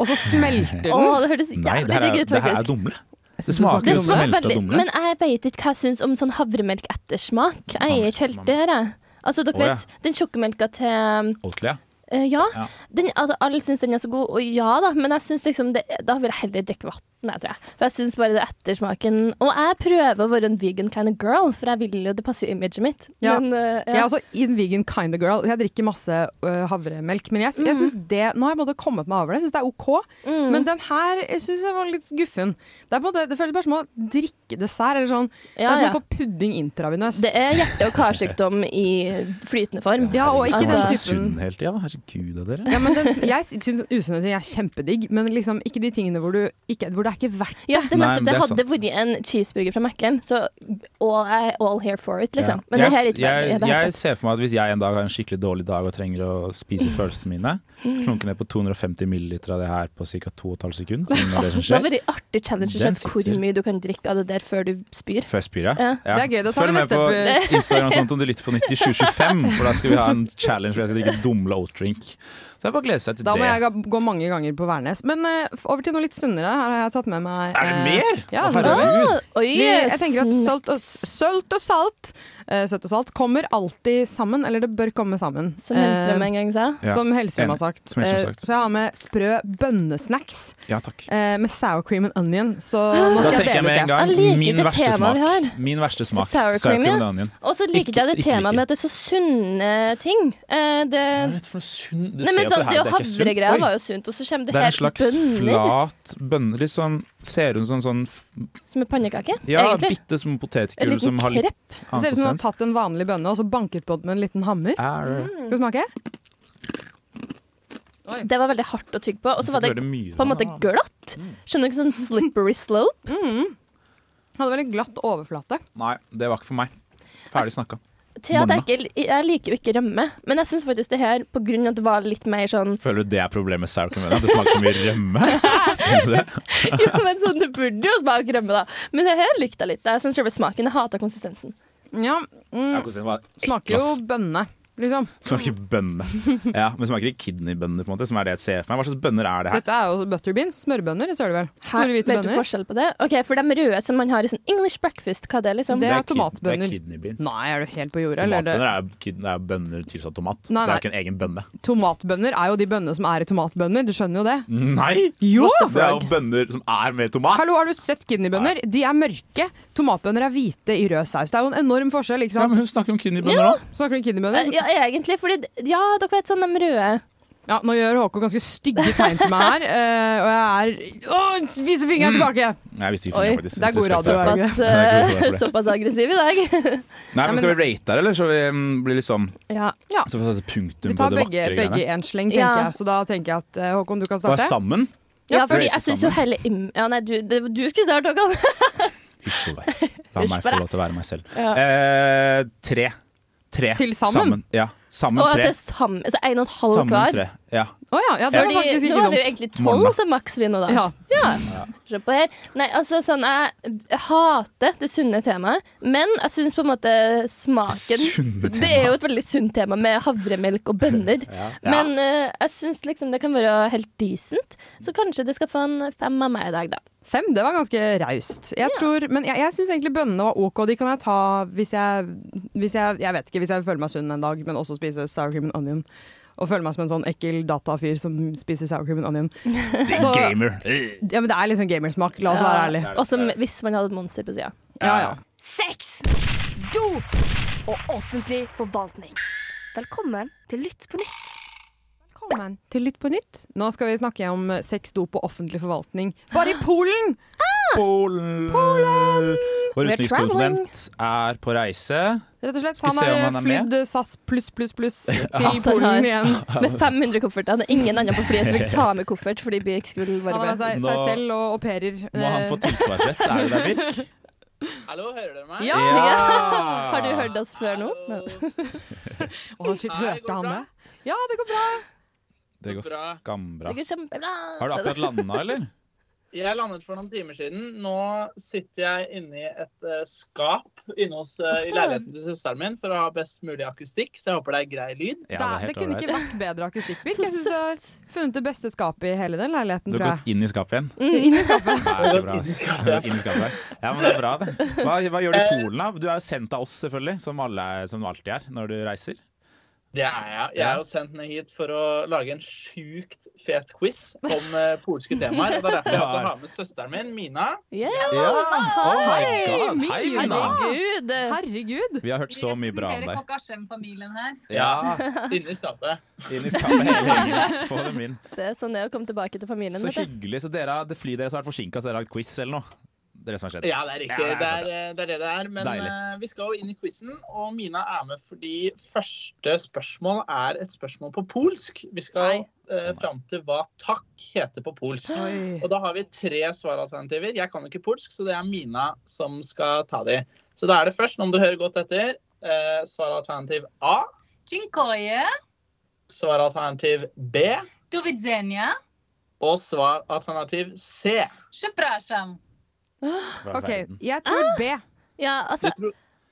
og så smelter den
Å, det hørtes
Nei,
jævlig
det her
digg
er,
ut,
det her er
faktisk.
dumle. Det smaker
Det
som
smaker
smelta
veldig-
dumle.
Men jeg vet ikke hva jeg syns om sånn havremelk-ettersmak. Jeg er ikke helt der, jeg. Altså, dere
Å, ja.
vet, den sjokkemelka til
Oatly, ja.
eh, ja,
Ja.
den, altså, alle syns den er så god, og ja da, men jeg synes liksom det, da vil jeg heller drikke vann. Nei, tror jeg. For jeg syns bare det er ettersmaken Og jeg prøver å være en vegan kind of girl, for jeg vil jo, det passer jo imaget mitt.
Ja. altså.
Men, eh,
Jeg er også in vegan kind of girl. Jeg drikker masse øh, havremelk. Men jeg, jeg synes det, nå har jeg både kommet med havre, jeg synes det er OK.
Mm.
Men den her syns jeg var litt guffen. Det, er på en måte, det føles bare som å drikke dessert. Eller sånn. det
Ja,
er som
ja.
å få pudding intravenøst.
Det er hjerte- og karsykdom i flytende form.
Ja, og ikke
Herregud,
den
så
typen
Sunn hele tida, da. herregud av dere.
ja, men den, jeg syns usunne ting er kjempedigg, men liksom ikke de tingene hvor, du, ikke, hvor det er ikke verdt
Ja, det, er
Nei,
nettopp,
men
det,
det er
hadde vært en cheeseburger fra Mac-en, så all, I, all here for it, liksom.
Ja.
Men det her er
jeg,
ikke verdt det.
jeg,
det her er
jeg ser for meg at hvis jeg en dag har en skikkelig dårlig dag og trenger å spise følelsene mine, klunke ned på 250 milliliter av det her på ca. 2,5 sekunder, som er det som
Det hadde
skjer
vært en artig challenge å
Den
se hvor
sitter.
mye du kan drikke av det der før du spyr.
før jeg spyr, ja.
Ja.
ja.
Det er gøy, da tar vi
Følg med
neste
på
episode.
Instagram-kontoen til Lytt på 90 2025, for da skal vi ha en challenge hvor jeg skal drikke dumle oatdrink. Så det er bare å glede seg til
Da
det.
må jeg ga- gå mange ganger på Værnes. Men eh, f- over til noe litt sunnere. Her har jeg tatt med meg
Er det
eh,
mer?
Ja,
Å,
altså,
herregud.
Ah, oi,
Vi, jeg tenker at
snakk.
sølt og, sølt og salt eh, Søtt og salt kommer alltid sammen, eller det bør komme sammen. Eh,
Som Hellstrøm
Eh,
en gang sa.
Ja,
Som Hellstrøm har
enig.
sagt.
Som Hellstrøm har
Eh,
sagt.
så jeg har med sprø bønnesnacks
Ja, takk.
eh, med sour cream and onion. Så
Ah!
nå
Da
skal
tenker jeg med
dele ut
en
det.
gang
Jeg liker
min
det
verste
temaet vi
smak.
har.
Min verste smak.
Sour cream,
and
ja.
onion.
Og så liker
Ikke-
jeg det
ikke liker.
temaet med at det er så sunne ting. Eh, det,
Hva er dette for noe sunn? Du
nei,
ser
men
jo på det her, det
sånn, det å
er ikke sunt.
havregreia
Oi.
var jo sunt, og så kommer det,
Det er en
her
slags
bønner
flat bønne, litt sånn Ser ut som sånn, sånn
som er pannekake,
Ja,
egentlig.
bitte små
En
potetgull
liten
som har litt
krepp.
Det ser ut som du har tatt en vanlig bønne og så banket på den med en liten hammer.
Mm.
Skal du smake?
Det var veldig hardt å tygge på. Og så
Hvorfor
var det
ble det mye
på en måte
sånn?
glatt. Skjønner du ikke sånn slippery slope?
Hadde veldig glatt overflate.
Nei, det var ikke for meg. Ferdig
Altså-
snakka.
Til at jeg,
Bonna.
ikke, jeg liker jo ikke rømme, men jeg syns faktisk det her, på grunn av at det var litt mer sånn
Føler du det er problemet med sour cream? At det smaker så mye rømme? Synes du det?
Jo, men sånn, det burde jo smake rømme, da. Men det her likte jeg litt. Jeg syns selve smaken. Jeg hater konsistensen.
Ja, mm,
Ja, hvordan var det?
smaker jo
Ekkel, ass.
bønne, liksom.
Smaker bønne. Ja, men smaker ikke kidneybønner, på en måte, som er det jeg ser for meg. Hva slags bønner er det her?
Dette er jo butterbeans, smørbeønner, så er det vel.
Hæ?
Store
Vet
hvite
du
bønner.
forskjell på det? Ok, For de røde som man har i sånn English breakfast, hva er det, liksom?
Det er
kid-
tomatbønner.
Det er kidney beans.
Nei, er du helt på jordet? Eller er det
Tomatbønner er, jo kid- det er jo bønner tilsatt tomat. Det
Nei, nei.
er jo ikke en egen bønne.
Tomatbønner er jo de bønnene som er i tomatbønner, du skjønner jo det.
Mm. Nei!
Jo!
Det er jo bønner som er med tomat.
Hallo, har du sett kidneybønner? De er mørke. Tomatbønner er hvite i rød saus. Det er jo en enorm forskjell, ikke
Ja,
sant?
men hun snakker om kidneybønner nå.
Snakker du
Eh,
om kidneybønner?
Ja, egentlig. Fordi d- Ja, dere vet sånn de røde.
Ja, nå gjør Håkon ganske stygge tegn til meg her, eh, og jeg er Åh, viser
Mm.
fingeren tilbake!
Nei, jeg visste ikke
Oi,
fingeren, faktisk.
det er god
Respekt
radio,
for det.
Såpass,
Det er god radio
eh,
for det.
såpass aggressiv i dag.
Nei, men Skal vi rate her, eller? Så vi mm, blir litt sånn
Ja.
Ja.
Så får vi sette punktum
Vi
på
tar
det
begge,
vakre
begge i
greiene.
en sleng, tenker
Ja.
jeg. Så da tenker jeg at eh, Håkon, du kan
Bare
starte.
sammen?
Ja, fordi
Rate
jeg syns jo
sammen.
hele im... Ja, nei, du, det, du skulle starte òg, Kalle.
Hysj og vær. La
Hysj
meg
på
få
deg.
lov til å være meg selv.
Ja.
Eh, tre. Tre.
Til sammen?
Ja, sammen
Og at
tre.
det er sammen, så altså en og en halv
Sammen
hver.
tre. Ja.
Å Å ja, ja, det var faktisk ikke
nå var det jo
dumt.
egentlig tolv, så maks vi nå, da.
Ja.
Se på her. Nei, altså sånn, jeg, jeg hater det sunne temaet, men jeg syns på en måte smaken
Det sunne
Det er jo et veldig sunt tema med havremelk og bønner.
Ja.
Men eh, jeg syns liksom det kan være helt decent, så kanskje det skal få en fem av meg i dag, da.
Fem, det var ganske raust. Jeg tror, men jeg, jeg syns egentlig bønnene var ok. De kan jeg ta hvis jeg, hvis jeg Jeg vet ikke, hvis jeg føler meg sunn en dag, men også spise sour cream and onion. Og føler meg som en sånn ekkel datafyr som spiser sour cream and onion. Så- Ja, men det er liksom gamersmak, la oss
Ja.
være ærlige.
Også m- hvis man hadde et monster på sida.
Ja, ja.
Sex, dop og offentlig forvaltning. Velkommen til Lytt på nytt.
Velkommen til Lytt på nytt. Nå skal vi snakke om sex, dop og offentlig forvaltning. Bare i Polen!
Polen! Vår
We're
utenrikskorrespondent er på reise.
Rett og slett.
Skal vi
Han
se om
har
han er med?
flydd SAS pluss, pluss, pluss
Ja.
til
At han har-
Polen igjen.
Med 500 kofferter. Det er ingen andre på flyet som vil ta med koffert, fordi Birk skulle
Han
bare
har med seg, seg
Nå-
selv og au pairer.
Må han
Eh.
få tilsvarsrett? Er det der, Birk?
Hallo, hører dere meg?
Ja!
Har du hørt oss før nå?
Å, shit, hørte han det? Ja, det går bra.
Det går skambra.
kjempebra.
Har du akkurat landa, eller?
Jeg landet for noen timer siden. Nå sitter jeg inni et eh, skap inne hos, eh, i leiligheten til søsteren min for å ha best mulig akustikk, så jeg håper det er grei lyd.
det, er, det kunne ikke vært bedre akustikk. Birk. Jeg synes du har funnet det beste skapet i hele den
Du
leiligheten,
har
tror jeg.
gått inn i skapet igjen?
Mm, inn i skapet.
Nei, det er bra, ass. Du har gått inn i skapet. Ja, men det er bra, det. Hva, hva gjør du i Polen, da? Du er jo sendt av oss, selvfølgelig, som, alle, som du alltid er når du reiser.
Det er jeg. Jeg er jo sendt ned hit for å lage en sjukt fet quiz om eh, polske temaer. og Det er derfor jeg også har med søsteren min, Mina.
Ja. Oh my god,
Mina.
hei, Mina!
Herregud!
Vi har hørt så mye bra om deg.
Kokasjem-familien her.
Ja.
Inne i skapet.
Inn i skapet hele gjengen. Få dem inn.
Det er sånn det er å komme tilbake til familien.
Så
vet du.
hyggelig. Så dere, det flyet deres har vært forsinka, så dere har lagd quiz eller noe? Det er det som har skjedd.
Ja, det er riktig.
Ja,
det,
sant,
er, eh, det er det det er. Men
Deilig.
eh, vi skal jo inn i quizen, og Mina er med fordi første spørsmål er et spørsmål på polsk. Vi skal uh, fram til hva takk heter på polsk.
Oi.
Og da har vi tre svaralternativer. Jeg kan jo ikke polsk, så det er Mina som skal ta de. Så da er det først, nå må dere høre godt etter, eh, svaralternativ A,
Dziękuję.
svaralternativ B
Do widzenia.
og svaralternativ C.
Przepraszam.
Ok,
jeg tror B.
Ja, altså,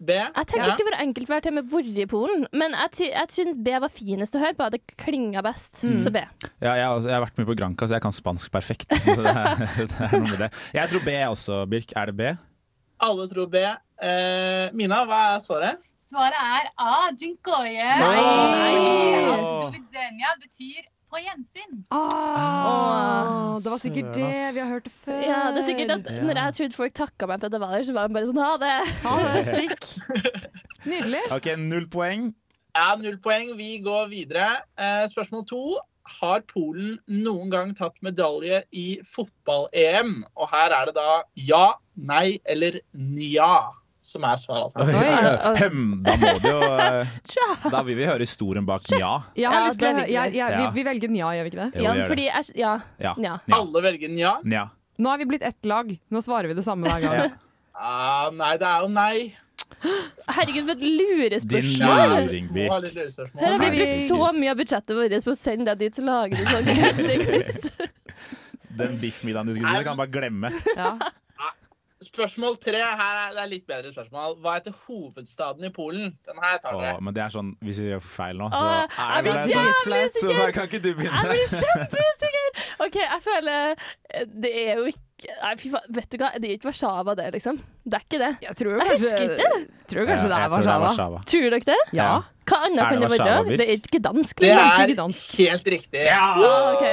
B?
jeg tenkte det skulle være enkelt for til med hvor i Polen, men jeg, ty jeg syns B var finest å høre på. Det klinga best.
Mm.
Så B.
Ja, jeg, har også- jeg har vært mye på Granca, så jeg kan spansk perfekt. Så det er, det er noe med det. Jeg tror B også, Birk. Er det B?
Alle tror B. Eh, Mina, hva er svaret?
Svaret er A. Dziękuję.
Nei.
Nei. Do widzenia betyr på gjensyn.
Åh, det var sikkert
søren,
det.
ass.
Vi har hørt det før.
Ah! Ja, det er sikkert at Når jeg trodde folk takka meg for at jeg var der, så var de bare sånn ha det.
Nydelig.
Ok, Null poeng.
Ja, null poeng. Vi går videre. Eh, spørsmål to. Har Polen noen gang tatt medalje i fotball-EM? Og her er det da ja, nei eller nja som er svaret. altså.
Oi, ja. Hm, Da må det jo eh,
Tja.
Da vil vi høre historien bak ja.
Jeg har
Ja,
lyst
det
til å
er hyggelig.
jeg- jeg-
Ja.
vi, vi velger nja, gjør vi ikke det?
Jo, Ja, vi gjør fordi
jeg, ja.
Ja. Ja.
Alle velger nja.
Nja.
Nå har vi blitt ett lag. Nå svarer vi det samme hver
Ja.
gang.
Ah, nei, det er jo nei.
Herregud, for et lurespørsmål.
luring, Birk.
Må ha litt lurespørsmål.
Her har vi brukt så mye av budsjettet vårt på å sende deg dit, så lager du sånn køddequiz.
Den biffmiddagen du skulle spise, kan du bare glemme.
Spørsmål tre. Her er det er litt bedre spørsmål. Hva heter hovedstaden i Polen? Den her tar dere.
Åh, men det er sånn, hvis vi gjør feil nå,
Åh,
så
jeg
er det
blir
det er
jævlig
så da kan ikke du
Jeg blir
begynne.
kjempeusikker! OK, jeg føler eh, Det er jo ikke Nei, fy faen. Vet du hva, det er ikke Warszawa, det, liksom. Det er ikke det.
Jeg tror
husker
kanskje-
ikke.
tror kanskje
Ja,
det er
jeg tror det er
Warszawa.
Warszawa.
Tror dere det?
Ja.
Hva annet
Er
kan
det
det være?
Warszawa, Birk?
Det er ikke gdansk,
Det
liksom.
er helt riktig.
Ah, ok.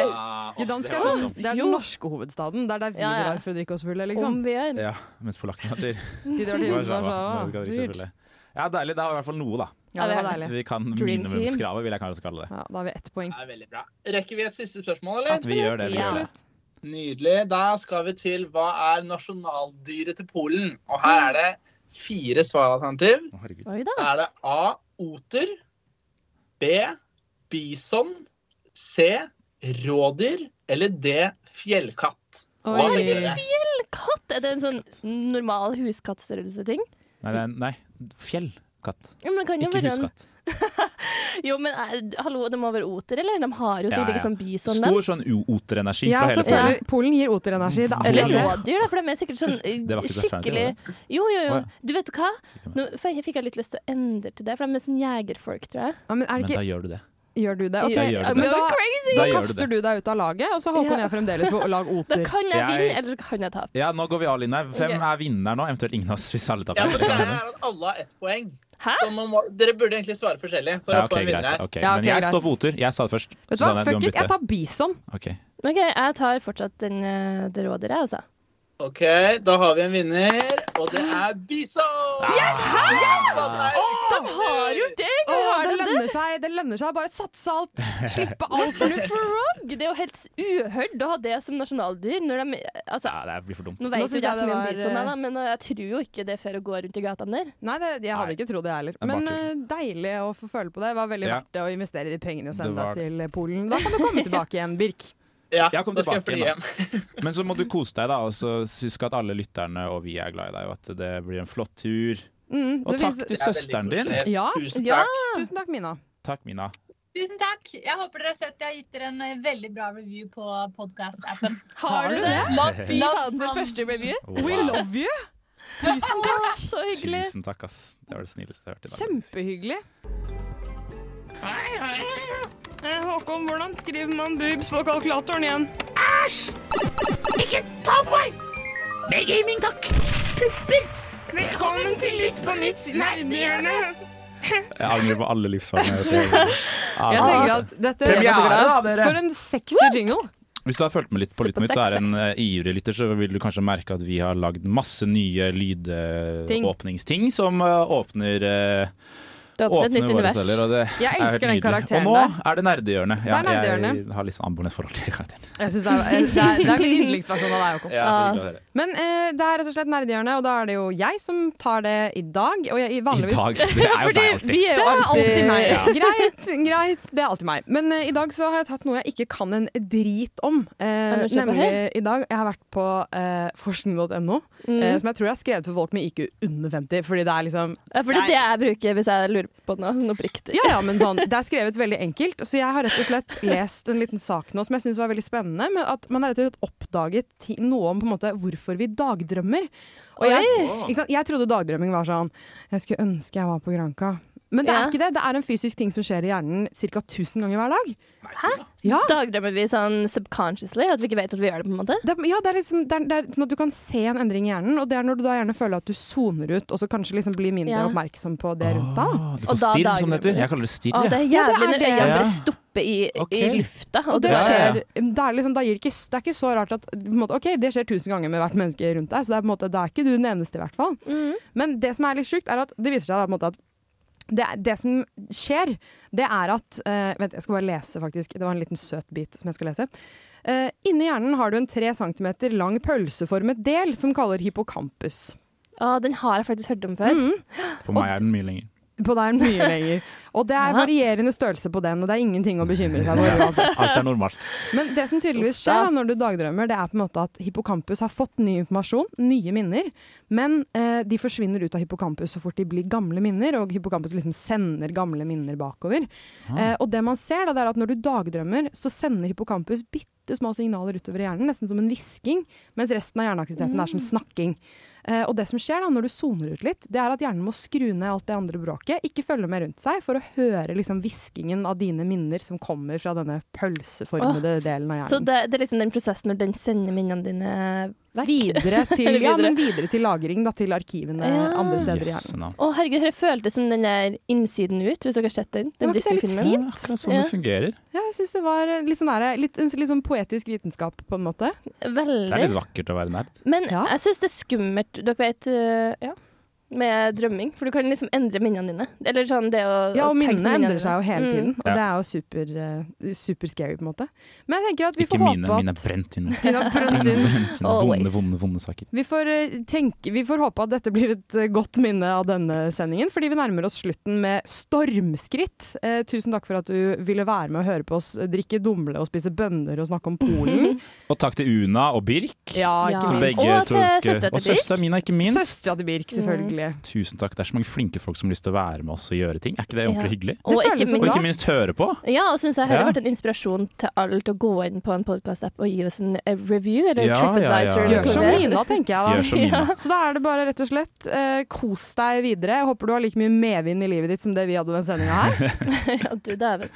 Gdansk
det
er,
var
den-
sånn.
det er den norske hovedstaden. Det er der vi
Ja, ja.
drar for å drikke oss fulle, liksom.
Om vi er.
Ja, mens polakkene har tur.
De drar til
Warszawa, når
Warszawa.
vi sånn, skal drikke,
sånn. Dyrt.
selvfølgelig. Ja, deilig. Det er i hvert fall noe, da.
Ja, det var deilig.
Vi kan
Dream team.
minimumskravet, vil jeg kanskje kalle det.
Ja, da har vi ett poeng.
Det er veldig bra. Rekker vi et siste spørsmål, eller?
Vi gjør det. liksom. Vi gjør det.
Nydelig. Da skal vi til hva er nasjonaldyret til Polen? Og her er det fire svaralternativ.
Oi
Da er det A. Oter. B. Bison. C. Rådyr. Eller D. Fjellkatt. Hva
Oi.
velger dere?
Fjellkatt! Er det en sånn normal huskattstørrelse-ting?
Nei, nei, nei. fjell. Katt.
Ja, men kan jo
Ikke
være en-
huskatt.
Jo, men eh, hallo, de må være oter, eller? De har jo
Ja, ja.
sikkert ikke sånn bison,
Stor sånn o- oterenergi
Ja,
fra
så
hele
føler
Polen.
Polen gir oterenergi. Det er
Eller
akkurat det.
rådyr, da, for de er sikkert sånn eh,
Det var ikke et alternativ,
skikkelig
var det?
Jo, jo, jo.
Å, ja.
Du vet hva? Nå f- fikk jeg litt lyst til å endre til det, for de er sånn jegerfolk, tror jeg.
Men da gjør du det.
Gjør du
Ja,
det? Ok.
Da gjør du
Men
det.
da,
Crazy.
da
Da gjør du
kaster
det.
du deg ut av laget, og så håper
Ja.
jeg fremdeles på å lage oter.
Da kan jeg
Jeg-
vinne, eller kan jeg tape.
Ja, nå går vi all in her. Hvem
Ok.
er vinner nå? Eventuelt ingen av oss, hvis alle tar
Ja,
feil.
men greia er at alle har ett poeng.
Hæ?
Så man må, dere burde egentlig svare forskjellig for
Ja,
å få
ok,
en vinner
greit.
her.
ok. Men jeg står på oter. Jeg sa det først.
Vet du hva,
Susanne,
fuck
må
it,
bytte.
jeg tar bison.
Ok.
OK, jeg tar fortsatt den, eh, det rådyret, jeg, altså.
Ok, da har vi en vinner, og det er Bison!
Yes!
De
har jo den!
Åh,
har
det
de det?
lønner seg, det lønner seg. Bare satse alt. Slippe all
Men
fornuft.
frog! Det er jo helt uhørt å ha det som nasjonaldyr. Når de, altså,
Ja, det blir for dumt.
Nå
Nå
vet
synes
jo jeg
jeg
så
det
mye om
var,
bison, jeg,
eh,
da, men eh, jeg tror jo ikke det er fair å gå rundt i gatene der.
Nei, det, jeg hadde ikke trodd det heller.
er bare
Men
tull.
eh, deilig å få føle på det. Det var veldig
Ja.
verdt det å investere de pengene
Det
og sende
var
deg til eh, Polen. Da kan du komme tilbake igjen, Birk.
Ja,
jeg kom
da skal jeg
tilbake igjen. da. Men så må du kose deg, da. Og så husk at alle lytterne og vi er glad i deg, og at det blir en flott tur.
Mm,
og
det
takk
finnes-
til søsteren din.
Ja.
Ja.
Tusen takk, Mina.
Takk, Mina.
Tusen takk. Jeg håper dere har sett jeg har gitt dere en eh, veldig bra review på podkast-appen.
Har du det?
Love,
Fy
love
faen, det
from-
første review.
We
Wow.
love you! Tusen takk.
Så hyggelig.
Tusen takk, ass. Det var det snilleste jeg har hørt i dag.
Kjempehyggelig. Hei, hei. Håkon, hvordan skriver man boobs på kalkulatoren igjen?
Æsj! Ikke ta på meg! Mer gaming, takk! Pupper! Velkommen til Lytt på nytt nerdehjørne!
Jeg angrer på alle livsfarene. Ah.
Jeg tenker at dette Altså,
Premiere, da, dere!
For en sexy jingle.
Hvis du har fulgt med litt på Lytt på
på
nytt og er en eh, ivrig lytter, så vil du kanskje merke at vi har lagd masse nye
Ting.
lydåpningsting som eh, åpner eh,
Det åpner et nytt
våre
univers.
celler, og det
Jeg
er
elsker
helt
den
nydelig.
karakteren
Og nå
der.
er det nerdehjørnet. Ja,
Det er nerdehjørnet.
Jeg har litt sånn ambulant forhold til karakteren.
Jeg synes det, er, det, er, det er min yndlingsversjon av deg, Håkon.
Jeg er så glad i dere.
Men eh, det er rett og slett nerdehjørnet, og da er det jo jeg som tar det i dag. Og jeg, i vanligvis
dag, det er jo deg Fordi alltid. vi er jo
Det er
alltid-
alltid meg.
Ja.
Greit, greit. Det er alltid meg. Men eh, i dag så har jeg tatt noe jeg ikke kan en drit om. Eh,
Kan du kjøpe
nemlig
her?
i dag. Jeg har vært på eh, forskning.no,
Mm.
eh, som jeg tror jeg har skrevet for folk med IQ under 50, fordi det er liksom
Ja, for det er det jeg bruker hvis jeg lurer på noe sånn oppriktig.
ja, ja, men sånn, Det er skrevet veldig enkelt, så jeg har rett og slett lest en liten sak nå som jeg syns var veldig spennende. Men at man har rett og slett oppdaget ti- noe om på en måte hvorfor vi dagdrømmer. Og jeg,
Oi.
ikke sant? jeg trodde dagdrømming var sånn Jeg skulle ønske jeg var på Granka. Men det er
Ja.
ikke det. Det er en fysisk ting som skjer i hjernen ca. 1000 ganger hver dag.
Hæ?
Ja.
Dagdrømmer vi sånn subconsciously, at vi ikke vet at vi gjør det, på en måte?
Det, er- ja, det er liksom, det er, det er sånn at Du kan se en endring i hjernen, og det er når du da gjerne føler at du soner ut, og så kanskje liksom blir mindre
Ja.
oppmerksom på det rundt deg. da.
Du får stirr, som det heter. Jeg kaller det stirr.
Å, det er
Ja, det
jævlig
er
når
det.
øynene
Ja.
bare stopper i,
Ok.
i lufta.
Og det
Ja, ja,
skjer,
ja.
det er, liksom, da gir det, ikke, det er ikke så rart at på en måte, Ok, det skjer tusen ganger med hvert menneske rundt deg, så det er, på en måte, da er ikke du den eneste, i hvert fall.
Mm.
Men det som er litt sjukt, er at det viser seg da, på en måte, at det, det som skjer, det er at eh, Vent, jeg skal bare lese, faktisk. Det var en liten søt bit som jeg skal lese. Eh, inni hjernen har du en tre centimeter lang pølseformet del som kaller hippocampus.
Å, den har jeg faktisk hørt om før.
På meg er den mye lenger.
På deg er den mye lenger. Og det er
Ja.
varierende størrelse på den, og det er ingenting å bekymre seg for. uansett.
Alt er normalt.
Men det som tydeligvis
Uff da.
skjer da, når du dagdrømmer, det er på en måte at hippocampus har fått ny informasjon, nye minner, men eh, de forsvinner ut av hippocampus så fort de blir gamle minner, og hippocampus liksom sender gamle minner bakover. Eh, og det man ser da, det er at når du dagdrømmer, så sender hippocampus bitte små signaler utover i hjernen, nesten som en hvisking, mens resten av hjerneaktiviteten er
Mm.
som snakking. Eh, og det som skjer da når du soner ut litt, det er at hjernen må skru ned alt det andre bråket, ikke følge med rundt seg, for å høre liksom hviskingen av dine minner som kommer fra denne pølseformede
Åh,
delen av
Så
hjernen.
det, det er liksom den prosessen når den sender minnene dine vekk?
Videre til,
Eller
ja,
videre.
men videre til lagring, da, til arkivene
Ja.
andre steder i
Jøsse
hjernen.
navn.
Å, herregud, det føltes som den der innsiden ut, hvis dere har sett den.
Var
Den
ikke det litt
Disney-filmen.
fint?
Akkurat sånn det fungerer.
Ja, jeg syns det var eh, litt sånn, der, litt, en litt sånn poetisk vitenskap, på en måte.
Det er litt
Veldig.
vakkert å være nerd.
Men jeg syns det er skummelt, dere vet, øh, ja, med drømming. For du kan liksom endre minnene dine. Eller sånn det å
Ja,
å
og
tenke
minnene endrer
dine.
seg jo hele
Mm.
tiden, og
Ja.
det er jo super, eh, super scary, på en måte. Men jeg tenker at vi
Ikke
får håpe
mine.
at
Mine er brent inne.
Dine er brent
Mine er
inne.
brent inne. Vonde,
Always.
vonde, vonde saker.
Vi får, eh, tenke, vi får håpe at dette blir et eh, godt minne av denne sendingen, fordi vi nærmer oss slutten med stormskritt. Eh, tusen takk for at du ville være med og høre på oss eh, drikke dumle og spise bønner og snakke om Polen.
Og takk til Una og Birk.
Ja, ikke
Som
minst.
begge
Og til
tok- eh,
søstera til
Og søstera Mina, ikke minst.
Søstera til Birk, selvfølgelig. hyggelig.
Tusen takk. Det er så mange flinke folk som har lyst til å være med oss og gjøre ting. Er ikke det ordentlig
Ja.
hyggelig?
Og Det føles ikke
og
minst-
ikke minst høre på.
Ja, og synes jeg har
Ja.
vært en inspirasjon til alle til å gå inn på en podcast-app og gi oss en eh, review, eller
Ja, ja, ja.
TripAdvisor. eller
Gjør
hva
Som
det er.
Mina, tenker jeg da.
Gjør som Mina.
Så da er det bare rett og slett eh, kos deg videre. Jeg håper du har like mye medvind i livet ditt som det vi hadde den sendinga her.
ja, du dæven.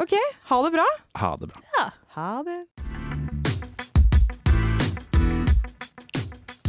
OK, ha det bra.
Ha det bra.
Ha det.